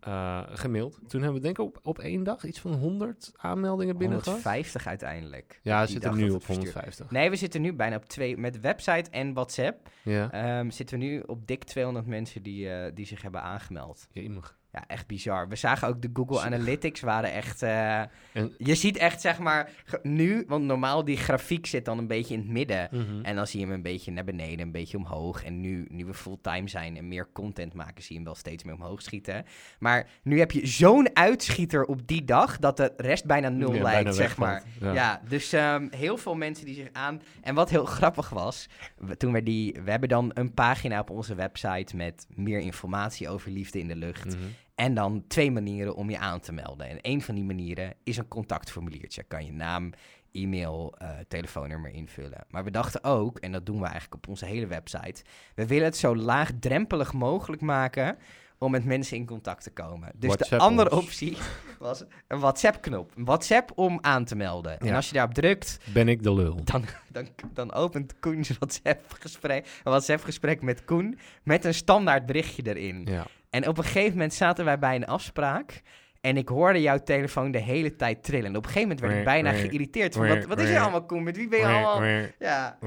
[SPEAKER 2] eh, gemaild. Toen hebben we denk ik op, op één dag iets van 100 aanmeldingen binnen gehad.
[SPEAKER 1] 150 uiteindelijk.
[SPEAKER 2] Ja,
[SPEAKER 1] Die
[SPEAKER 2] ze
[SPEAKER 1] dag
[SPEAKER 2] zitten nu
[SPEAKER 1] dat
[SPEAKER 2] op
[SPEAKER 1] het verstuurd-
[SPEAKER 2] 150.
[SPEAKER 1] Nee, we zitten nu bijna op twee. Met website en WhatsApp
[SPEAKER 2] Ja.
[SPEAKER 1] ehm, zitten we nu op dik 200 mensen die, eh, die zich hebben aangemeld.
[SPEAKER 2] Jemig.
[SPEAKER 1] Ja, echt bizar. We zagen ook de Google
[SPEAKER 2] Zo.
[SPEAKER 1] Analytics waren echt... eh,
[SPEAKER 2] En-
[SPEAKER 1] je ziet echt, zeg maar, ge- nu... Want normaal die grafiek zit dan een beetje in het midden. Mhm.
[SPEAKER 2] Mhm.
[SPEAKER 1] En dan zie je hem een beetje naar beneden, een beetje omhoog. En nu, nu we fulltime zijn en meer content maken, zie je hem wel steeds meer omhoog schieten. Maar nu heb je zo'n uitschieter op die dag dat de rest bijna nul
[SPEAKER 2] Ja,
[SPEAKER 1] lijkt,
[SPEAKER 2] bijna
[SPEAKER 1] zeg
[SPEAKER 2] wegvalt.
[SPEAKER 1] maar.
[SPEAKER 2] Ja.
[SPEAKER 1] Ja, dus ehm, heel veel mensen die zich aan. En wat heel grappig was, we- toen we die. We hebben dan een pagina op onze website met meer informatie over liefde in de lucht.
[SPEAKER 2] Mhm.
[SPEAKER 1] En dan twee manieren om je aan te melden. En een van die manieren is een contactformuliertje. Kan je naam, e-mail, eh, telefoonnummer invullen. Maar we dachten ook, en dat doen we eigenlijk op onze hele website, we willen het zo laagdrempelig mogelijk maken om met mensen in contact te komen. Dus
[SPEAKER 2] WhatsApp
[SPEAKER 1] de andere
[SPEAKER 2] ons.
[SPEAKER 1] optie *laughs* was een WhatsApp-knop. Een WhatsApp om aan te melden. En
[SPEAKER 2] Ja.
[SPEAKER 1] als je daarop drukt,
[SPEAKER 2] Ben ik de lul?
[SPEAKER 1] dan, dan, dan opent Koen's WhatsApp-gesprek, een WhatsApp-gesprek met Koen met een standaard berichtje erin.
[SPEAKER 2] Ja.
[SPEAKER 1] En op een gegeven moment zaten wij bij een afspraak. En ik hoorde jouw telefoon de hele tijd trillen. En op een gegeven moment werd ik bijna geïrriteerd. Van, wat, wat is er allemaal, Koen? Met wie ben je allemaal? Ja.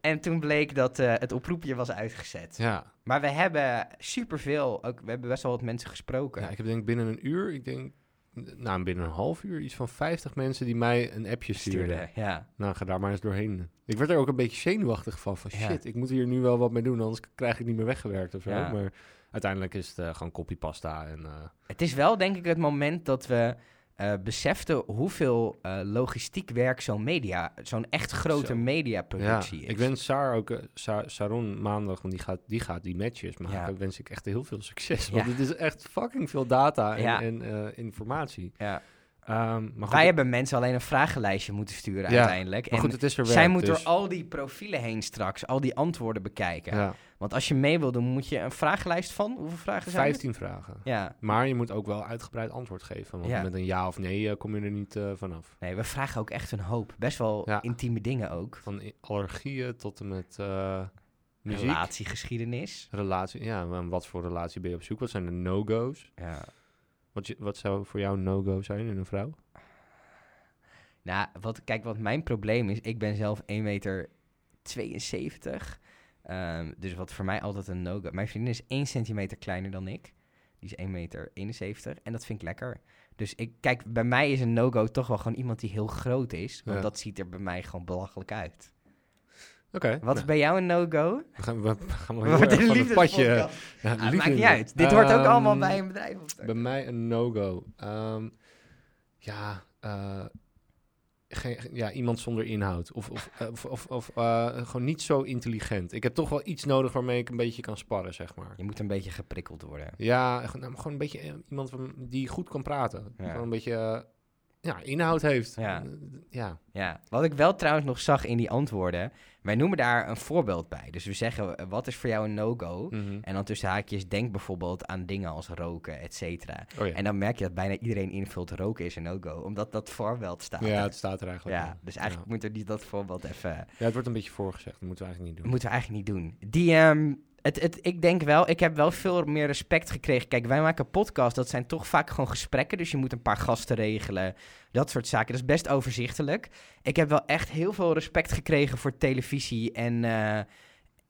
[SPEAKER 1] En toen bleek dat eh, het oproepje was uitgezet.
[SPEAKER 2] Ja.
[SPEAKER 1] Maar we hebben superveel, ook, we hebben best wel wat mensen gesproken.
[SPEAKER 2] ja, ik heb denk ik binnen een uur, ik denk, nou binnen een half uur, iets van 50 mensen die mij een appje stuurden.
[SPEAKER 1] Stuurde, eh, ja.
[SPEAKER 2] Nou, ga daar maar eens doorheen. Ik werd er ook een beetje zenuwachtig van. Van
[SPEAKER 1] Ja.
[SPEAKER 2] shit, ik moet hier nu wel wat mee doen, anders k- krijg ik niet meer weggewerkt of zo.
[SPEAKER 1] Ja.
[SPEAKER 2] Maar uiteindelijk is het eh, gewoon copypasta. En, eh,
[SPEAKER 1] Het is wel denk ik het moment dat we eh, beseften hoeveel eh, logistiek werk zo'n media, zo'n echt grote
[SPEAKER 2] Zo.
[SPEAKER 1] mediaproductie is.
[SPEAKER 2] ik wens Saar ook, eh, Sa- Saron maandag, want die gaat die, gaat die matches maken.
[SPEAKER 1] Ja.
[SPEAKER 2] Wens ik echt heel veel succes. Want
[SPEAKER 1] Ja.
[SPEAKER 2] het is echt fucking veel data en,
[SPEAKER 1] Ja.
[SPEAKER 2] en eh, informatie.
[SPEAKER 1] Ja.
[SPEAKER 2] Ehm, maar goed,
[SPEAKER 1] Wij hebben mensen alleen een vragenlijstje moeten sturen
[SPEAKER 2] Ja,
[SPEAKER 1] uiteindelijk.
[SPEAKER 2] maar
[SPEAKER 1] En-
[SPEAKER 2] goed, het is er wel.
[SPEAKER 1] Zij moet
[SPEAKER 2] dus-
[SPEAKER 1] door al die profielen heen straks, al die antwoorden bekijken.
[SPEAKER 2] ja,
[SPEAKER 1] Want als je mee wil doen, moet je een vragenlijst van, hoeveel vragen zijn het?
[SPEAKER 2] 15 vragen.
[SPEAKER 1] Ja,
[SPEAKER 2] Maar je moet ook wel uitgebreid antwoord geven. Want
[SPEAKER 1] Ja.
[SPEAKER 2] met een ja of nee eh, kom je er niet eh, vanaf.
[SPEAKER 1] nee, we vragen ook echt een hoop. Best wel
[SPEAKER 2] Ja.
[SPEAKER 1] intieme dingen ook.
[SPEAKER 2] Van i- allergieën tot en met eh muziek.
[SPEAKER 1] Relatiegeschiedenis.
[SPEAKER 2] Relatie, ja, en wat voor relatie ben je op zoek? Wat zijn de no-go's?
[SPEAKER 1] Ja.
[SPEAKER 2] Wat, je- wat zou voor jou een no-go zijn in een vrouw?
[SPEAKER 1] Nou, wat, kijk, wat mijn probleem is, ik ben zelf 1 meter 72. Ehm, dus wat voor mij altijd een no-go... Mijn vriendin is 1 centimeter kleiner dan ik. Die is 1 meter 71 en dat vind ik lekker. Dus ik, kijk, bij mij is een no-go toch wel gewoon iemand die heel groot is. Want
[SPEAKER 2] Ja.
[SPEAKER 1] dat ziet er bij mij gewoon belachelijk uit.
[SPEAKER 2] Oké.
[SPEAKER 1] Wat is
[SPEAKER 2] nou,
[SPEAKER 1] bij jou een no-go?
[SPEAKER 2] we gaan, we, we
[SPEAKER 1] *laughs*
[SPEAKER 2] gaan wel
[SPEAKER 1] We
[SPEAKER 2] heel
[SPEAKER 1] worden een
[SPEAKER 2] erg van het padje.
[SPEAKER 1] liefdespodcast.
[SPEAKER 2] Ja,
[SPEAKER 1] Ah,
[SPEAKER 2] liefde-
[SPEAKER 1] maakt niet uit. Dit hoort ook allemaal
[SPEAKER 2] Ehm,
[SPEAKER 1] bij een bedrijf. of zo.
[SPEAKER 2] Bij mij een no-go. Ehm, ja, eh, geen, geen- ja, iemand zonder inhoud. Of, of, eh, of, of, of, eh, gewoon niet zo intelligent. Ik heb toch wel iets nodig waarmee ik een beetje kan sparren, zeg maar.
[SPEAKER 1] Je moet een beetje geprikkeld worden.
[SPEAKER 2] Ja, gewoon- nou, maar gewoon een beetje eh, iemand van- die goed kan praten. Die
[SPEAKER 1] Ja.
[SPEAKER 2] gewoon een beetje eh, ja, inhoud heeft.
[SPEAKER 1] Ja.
[SPEAKER 2] Eh, ja.
[SPEAKER 1] Ja, wat ik wel trouwens nog zag in die antwoorden, wij noemen daar een voorbeeld bij. Dus we zeggen, eh, wat is voor jou een no-go? En dan tussen haakjes, denk bijvoorbeeld aan dingen als roken, et cetera.
[SPEAKER 2] Oh, ja.
[SPEAKER 1] En dan merk je dat bijna iedereen invult roken is een no-go, omdat dat voorbeeld staat.
[SPEAKER 2] ja, het staat er eigenlijk.
[SPEAKER 1] Ja,
[SPEAKER 2] in.
[SPEAKER 1] dus eigenlijk moet er niet dat voorbeeld even...
[SPEAKER 2] Ja. Ja, het wordt een beetje voorgezegd. Dat moeten we eigenlijk niet doen.
[SPEAKER 1] moeten we eigenlijk niet doen. Die, ehm, het, het, ik denk wel, ik heb wel veel meer respect gekregen. Kijk, wij maken podcasts, dat zijn toch vaak gewoon gesprekken. Dus je moet een paar gasten regelen, dat soort zaken. Dat is best overzichtelijk. Ik heb wel echt heel veel respect gekregen voor televisie en... eh,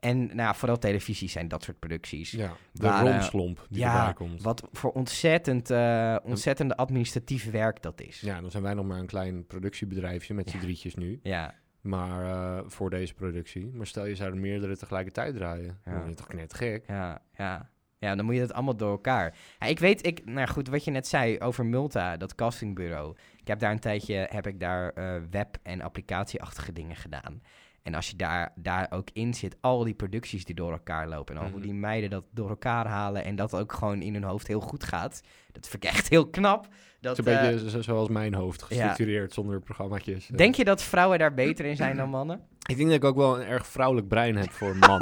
[SPEAKER 1] en nou, ja, vooral televisie zijn dat soort producties.
[SPEAKER 2] Ja, de
[SPEAKER 1] Waar, eh,
[SPEAKER 2] romslomp die
[SPEAKER 1] ja,
[SPEAKER 2] erbij komt.
[SPEAKER 1] Wat voor ontzettend, eh ontzettende administratief werk dat is.
[SPEAKER 2] Ja, dan zijn wij nog maar een klein productiebedrijfje met z'n
[SPEAKER 1] Ja.
[SPEAKER 2] drietjes nu.
[SPEAKER 1] Ja,
[SPEAKER 2] Maar eh, voor deze productie. Maar stel je zou er meerdere tegelijkertijd draaien.
[SPEAKER 1] Ja.
[SPEAKER 2] Dan ben je toch knetgek.
[SPEAKER 1] ja, ja. Ja, dan moet je dat allemaal door elkaar. Ja, ik weet, ik, nou goed, wat je net zei over Multa, dat castingbureau. Ik heb daar een tijdje, heb ik daar eh, web- en applicatieachtige dingen gedaan. En als je daar, daar ook in zit, al die producties die door elkaar lopen. En al hoe
[SPEAKER 2] Mhm.
[SPEAKER 1] die meiden dat door elkaar halen en dat ook gewoon in hun hoofd heel goed gaat. Dat vind ik echt heel knap. Dat,
[SPEAKER 2] Het is
[SPEAKER 1] eh,
[SPEAKER 2] een beetje zo- zoals mijn hoofd, gestructureerd zonder programmaatjes. eh.
[SPEAKER 1] denk je dat vrouwen daar beter in zijn dan mannen?
[SPEAKER 2] Ik denk dat ik ook wel een erg vrouwelijk brein heb voor een
[SPEAKER 1] *laughs*
[SPEAKER 2] man.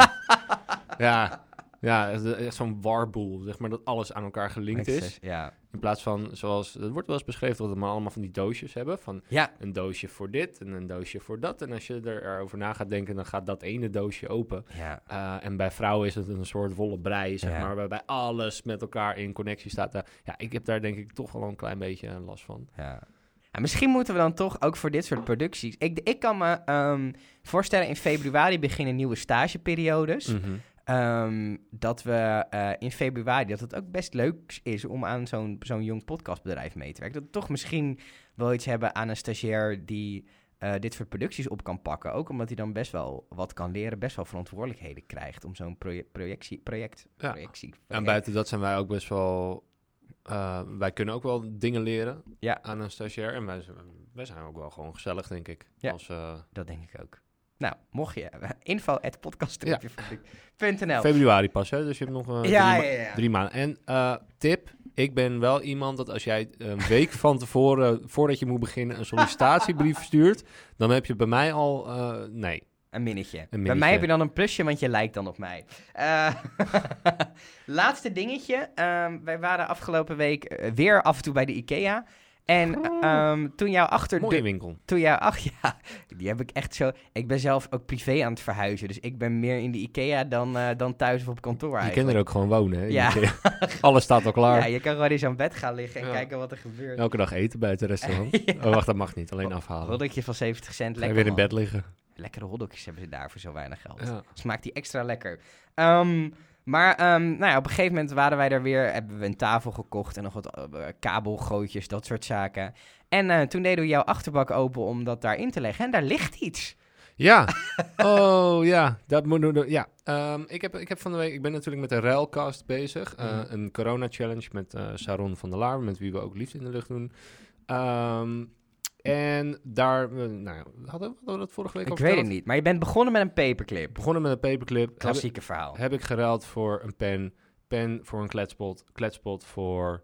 [SPEAKER 2] ja, ja, echt- echt zo'n warboel, zeg maar, dat alles aan elkaar gelinkt is.
[SPEAKER 1] Ja.
[SPEAKER 2] In plaats van, zoals, het wordt wel eens beschreven dat we maar allemaal van die doosjes hebben. Van
[SPEAKER 1] Ja.
[SPEAKER 2] een doosje voor dit en een doosje voor dat. En als je er- erover na gaat denken, dan gaat dat ene doosje open.
[SPEAKER 1] Ja.
[SPEAKER 2] Eh, en bij vrouwen is het een soort wollen brei, zeg
[SPEAKER 1] Ja.
[SPEAKER 2] maar, waarbij alles met elkaar in connectie staat. Eh, Ja, ik heb daar denk ik toch wel een klein beetje eh, last van.
[SPEAKER 1] Ja. Ja, misschien moeten we dan toch ook voor dit soort
[SPEAKER 2] Mm.
[SPEAKER 1] producties. Ik, ik kan me ehm, voorstellen, in februari beginnen nieuwe stageperiodes. Ehm, dat we eh, in februari, dat het ook best leuk is om aan zo'n zo'n jong podcastbedrijf mee te werken. Dat we toch misschien wel iets hebben aan een stagiair die eh, dit soort producties op kan pakken. Ook omdat hij dan best wel wat kan leren, best wel verantwoordelijkheden krijgt om zo'n proje projectie, project,
[SPEAKER 2] Ja.
[SPEAKER 1] projectie.
[SPEAKER 2] En buiten dat zijn wij ook best wel... eh, wij kunnen ook wel dingen leren
[SPEAKER 1] Ja.
[SPEAKER 2] aan een stagiair. En wij, z- wij zijn ook wel gewoon gezellig, denk ik.
[SPEAKER 1] Ja.
[SPEAKER 2] Als, eh,
[SPEAKER 1] Dat denk ik ook. Nou, mocht je, *laughs* info at
[SPEAKER 2] Februari pas, hè? Dus je hebt nog eh, drie,
[SPEAKER 1] Ja, ja,
[SPEAKER 2] ma-
[SPEAKER 1] ja.
[SPEAKER 2] drie maanden. En eh, tip, ik ben wel iemand dat als jij een week van tevoren, eh, voordat je moet beginnen, een sollicitatiebrief stuurt, dan heb je bij mij al, eh, nee.
[SPEAKER 1] Een minnetje. Bij
[SPEAKER 2] minnetje.
[SPEAKER 1] mij heb je dan een plusje, want je lijkt dan op mij. Eh, *laughs* laatste dingetje. Ehm, wij waren afgelopen week eh, weer af en toe bij de IKEA. En
[SPEAKER 2] Oh.
[SPEAKER 1] ehm, toen jou achter de-
[SPEAKER 2] Mooie winkel.
[SPEAKER 1] toen jou, ach *laughs* ja, die heb ik echt zo. Ik ben zelf ook privé aan het verhuizen, dus ik ben meer in de IKEA dan, eh, dan thuis of op kantoor.
[SPEAKER 2] Je
[SPEAKER 1] Eigenlijk.
[SPEAKER 2] kan er ook gewoon wonen, hè?
[SPEAKER 1] Ja.
[SPEAKER 2] Je- *laughs* Alles staat al klaar.
[SPEAKER 1] Ja, je kan gewoon eens aan bed gaan liggen en
[SPEAKER 2] Ja.
[SPEAKER 1] kijken wat er gebeurt.
[SPEAKER 2] Elke dag eten buiten het
[SPEAKER 1] *laughs*
[SPEAKER 2] restaurant.
[SPEAKER 1] Ja.
[SPEAKER 2] Oh, wacht, dat mag niet. Alleen afhalen.
[SPEAKER 1] Roddeltje van 70 cent,
[SPEAKER 2] Ga je
[SPEAKER 1] lekker.
[SPEAKER 2] weer in
[SPEAKER 1] man.
[SPEAKER 2] bed liggen.
[SPEAKER 1] Lekkere hotdogjes hebben ze daar voor zo weinig geld. Dus
[SPEAKER 2] Ja.
[SPEAKER 1] Smaakt die extra lekker. Ehm, maar ehm, nou ja, op een gegeven moment waren wij er weer. Hebben we een tafel gekocht en nog wat eh, kabelgootjes, dat soort zaken. En eh, toen deden we jouw achterbak open om dat daarin te leggen. En daar ligt iets. *laughs*
[SPEAKER 2] Ja. Oh ja, dat moet doen. Ja, Ehm, ik, heb, ik heb van de week. Ik ben natuurlijk met de Railcast bezig. Eh,
[SPEAKER 1] Mhm.
[SPEAKER 2] Een corona-challenge met eh, Sharon van der Laar, met wie we ook liefde in de lucht doen. Ehm, en daar, eh, nou, ja, hadden, we- hadden we dat vorige week al
[SPEAKER 1] Ik weet het
[SPEAKER 2] verteld?
[SPEAKER 1] niet. Maar je bent begonnen met een paperclip.
[SPEAKER 2] Begonnen met een paperclip. Heb,
[SPEAKER 1] Klassieke verhaal.
[SPEAKER 2] heb ik geruild voor een pen. Pen voor een kletspot. Kletspot voor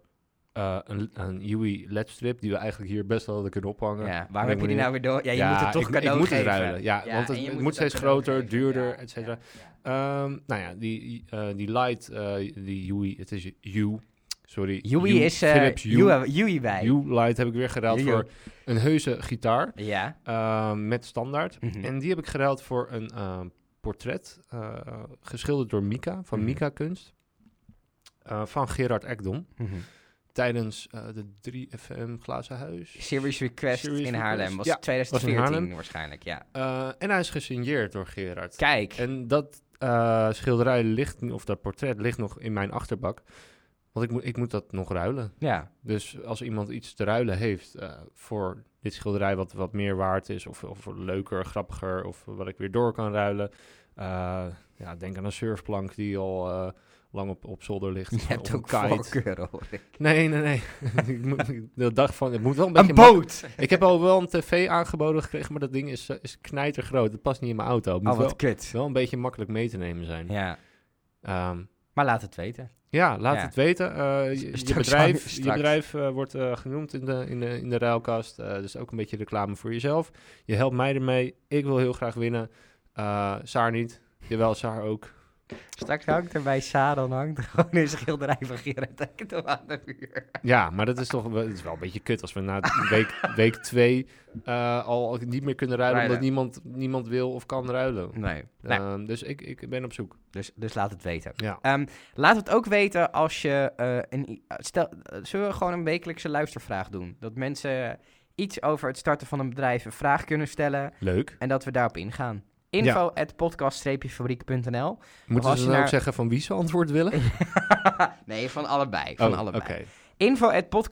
[SPEAKER 2] eh, een, een Yui ledstrip, die we eigenlijk hier best wel hadden kunnen ophangen.
[SPEAKER 1] Ja,
[SPEAKER 2] ik
[SPEAKER 1] waarom heb je die
[SPEAKER 2] niet.
[SPEAKER 1] nou weer door? Ja, je moet het toch
[SPEAKER 2] ik,
[SPEAKER 1] cadeau
[SPEAKER 2] ik moet
[SPEAKER 1] geven.
[SPEAKER 2] het ruilen. Ja, want
[SPEAKER 1] en
[SPEAKER 2] het,
[SPEAKER 1] je
[SPEAKER 2] het
[SPEAKER 1] ook
[SPEAKER 2] moet steeds
[SPEAKER 1] cadeau
[SPEAKER 2] groter,
[SPEAKER 1] geven.
[SPEAKER 2] duurder,
[SPEAKER 1] Ja,
[SPEAKER 2] et cetera.
[SPEAKER 1] ja, ja.
[SPEAKER 2] Ehm, nou ja, die, eh, die light, eh, die Yui, het is Hue. Sorry.
[SPEAKER 1] Joey is... eh,
[SPEAKER 2] Philips Hue.
[SPEAKER 1] Joey- Joey bij.
[SPEAKER 2] Hue light heb ik weer geruild
[SPEAKER 1] Joey.
[SPEAKER 2] voor een heuse gitaar
[SPEAKER 1] Ja.
[SPEAKER 2] ehm, met standaard.
[SPEAKER 1] Mhm.
[SPEAKER 2] En die heb ik geruild voor een ehm, portret, eh, geschilderd door Mika, van
[SPEAKER 1] Mhm.
[SPEAKER 2] Mika Kunst. eh, van Gerard Ekdom.
[SPEAKER 1] Mhm.
[SPEAKER 2] Tijdens eh, de 3FM Glazen Huis.
[SPEAKER 1] Serious Request
[SPEAKER 2] Serious
[SPEAKER 1] in
[SPEAKER 2] Request.
[SPEAKER 1] Haarlem. Was
[SPEAKER 2] Ja,
[SPEAKER 1] 2014
[SPEAKER 2] Haarlem.
[SPEAKER 1] waarschijnlijk, ja.
[SPEAKER 2] Eh, en hij is gesigneerd door Gerard.
[SPEAKER 1] Kijk.
[SPEAKER 2] En dat eh, schilderij ligt, nu- of dat portret ligt nog in mijn achterbak. Want ik, moet ik moet dat nog ruilen.
[SPEAKER 1] Ja.
[SPEAKER 2] Dus als iemand iets te ruilen heeft eh, voor dit schilderij wat, wat meer waard is, of, of leuker, grappiger, of wat ik weer door kan ruilen. eh, ja, denk aan een surfplank die al eh, lang op, op zolder ligt.
[SPEAKER 1] *laughs* *laughs* Je
[SPEAKER 2] of
[SPEAKER 1] hebt
[SPEAKER 2] een
[SPEAKER 1] ook
[SPEAKER 2] kite.
[SPEAKER 1] voorkeuren, hoor ik.
[SPEAKER 2] Nee, nee, nee. *laughs* ik moet, de dag van, het moet wel een beetje
[SPEAKER 1] Een boot!
[SPEAKER 2] Ik heb al wel een tv aangeboden gekregen, maar dat ding is, eh, is knijtergroot. Het past niet in mijn auto. Het moet
[SPEAKER 1] Oh,
[SPEAKER 2] wel,
[SPEAKER 1] wat kut.
[SPEAKER 2] wel een beetje makkelijk mee te nemen zijn.
[SPEAKER 1] Ja.
[SPEAKER 2] Ehm,
[SPEAKER 1] Maar laat het weten.
[SPEAKER 2] ja, laat
[SPEAKER 1] Ja.
[SPEAKER 2] het weten. Eh, je- je,
[SPEAKER 1] Straks aan-
[SPEAKER 2] bedrijf,
[SPEAKER 1] straks.
[SPEAKER 2] je bedrijf eh, wordt eh, genoemd in de, in de, in de ruilkast. Eh, dus ook een beetje reclame voor jezelf. Je helpt mij ermee. Ik wil heel graag winnen. Eh, Saar niet. Jawel, Saar ook.
[SPEAKER 1] Straks hangt er bij Sa, dan hangt er gewoon een schilderij van Gerard Ekdom aan de muur.
[SPEAKER 2] Ja, maar dat is toch wel, het is wel een beetje kut als we
[SPEAKER 1] *laughs*
[SPEAKER 2] na week, week twee eh, al niet meer kunnen ruilen.
[SPEAKER 1] Ruilen.
[SPEAKER 2] Omdat niemand, niemand wil of kan ruilen.
[SPEAKER 1] Nee. Nou,
[SPEAKER 2] Ehm, dus ik, ik ben op zoek.
[SPEAKER 1] dus, dus laat het weten.
[SPEAKER 2] Ja.
[SPEAKER 1] Ehm, laat het ook weten als je eh, een. Stel, eh, zullen we gewoon een wekelijkse luistervraag doen? Dat mensen iets over het starten van een bedrijf een vraag kunnen stellen
[SPEAKER 2] Leuk.
[SPEAKER 1] en dat we daarop ingaan. Info at podcast-fabriek.nl.
[SPEAKER 2] Moeten
[SPEAKER 1] als je
[SPEAKER 2] ze dan ook
[SPEAKER 1] naar-
[SPEAKER 2] zeggen van wie ze
[SPEAKER 1] *laughs*
[SPEAKER 2] antwoord willen?
[SPEAKER 1] nee, van allebei. Van
[SPEAKER 2] Oh,
[SPEAKER 1] allebei.
[SPEAKER 2] oké.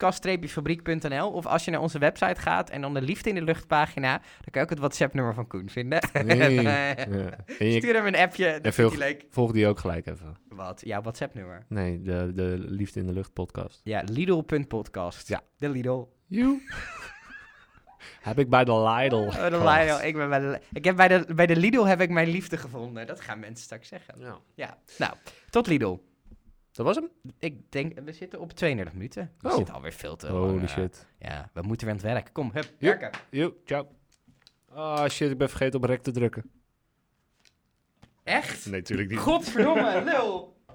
[SPEAKER 1] info.podcast-fabriek.nl of als je naar onze website gaat en dan de liefde in de lucht pagina, dan kan je ook het WhatsApp-nummer van Koen vinden.
[SPEAKER 2] Nee. *laughs*
[SPEAKER 1] *laughs*
[SPEAKER 2] Ja. En je-
[SPEAKER 1] Stuur hem een appje, dan
[SPEAKER 2] En
[SPEAKER 1] vindt
[SPEAKER 2] veel-
[SPEAKER 1] hij leuk.
[SPEAKER 2] volg die ook gelijk even.
[SPEAKER 1] Wat? Ja, WhatsApp-nummer.
[SPEAKER 2] Nee, de, de Liefde in de Lucht podcast.
[SPEAKER 1] Ja, Lidl.podcast.
[SPEAKER 2] Ja. Oh,
[SPEAKER 1] De Lidl.
[SPEAKER 2] You. *laughs* Heb ik bij de Lidl.
[SPEAKER 1] Oh, de Lidl. Ik, ben bij de, ik heb bij de, bij de Lidl heb ik mijn liefde gevonden. Dat gaan mensen straks zeggen.
[SPEAKER 2] Ja.
[SPEAKER 1] Ja, nou, tot Lidl.
[SPEAKER 2] Dat was hem?
[SPEAKER 1] Ik denk, we zitten op 32 minuten. We
[SPEAKER 2] Oh.
[SPEAKER 1] zitten alweer veel te lang.
[SPEAKER 2] Holy
[SPEAKER 1] eh,
[SPEAKER 2] shit.
[SPEAKER 1] Ja, we moeten weer aan het werk. Kom, hup,
[SPEAKER 2] Joep.
[SPEAKER 1] werken.
[SPEAKER 2] You, ciao. Ah shit, ik ben vergeten op rek te drukken.
[SPEAKER 1] Echt?
[SPEAKER 2] Nee, natuurlijk niet.
[SPEAKER 1] Godverdomme, lul!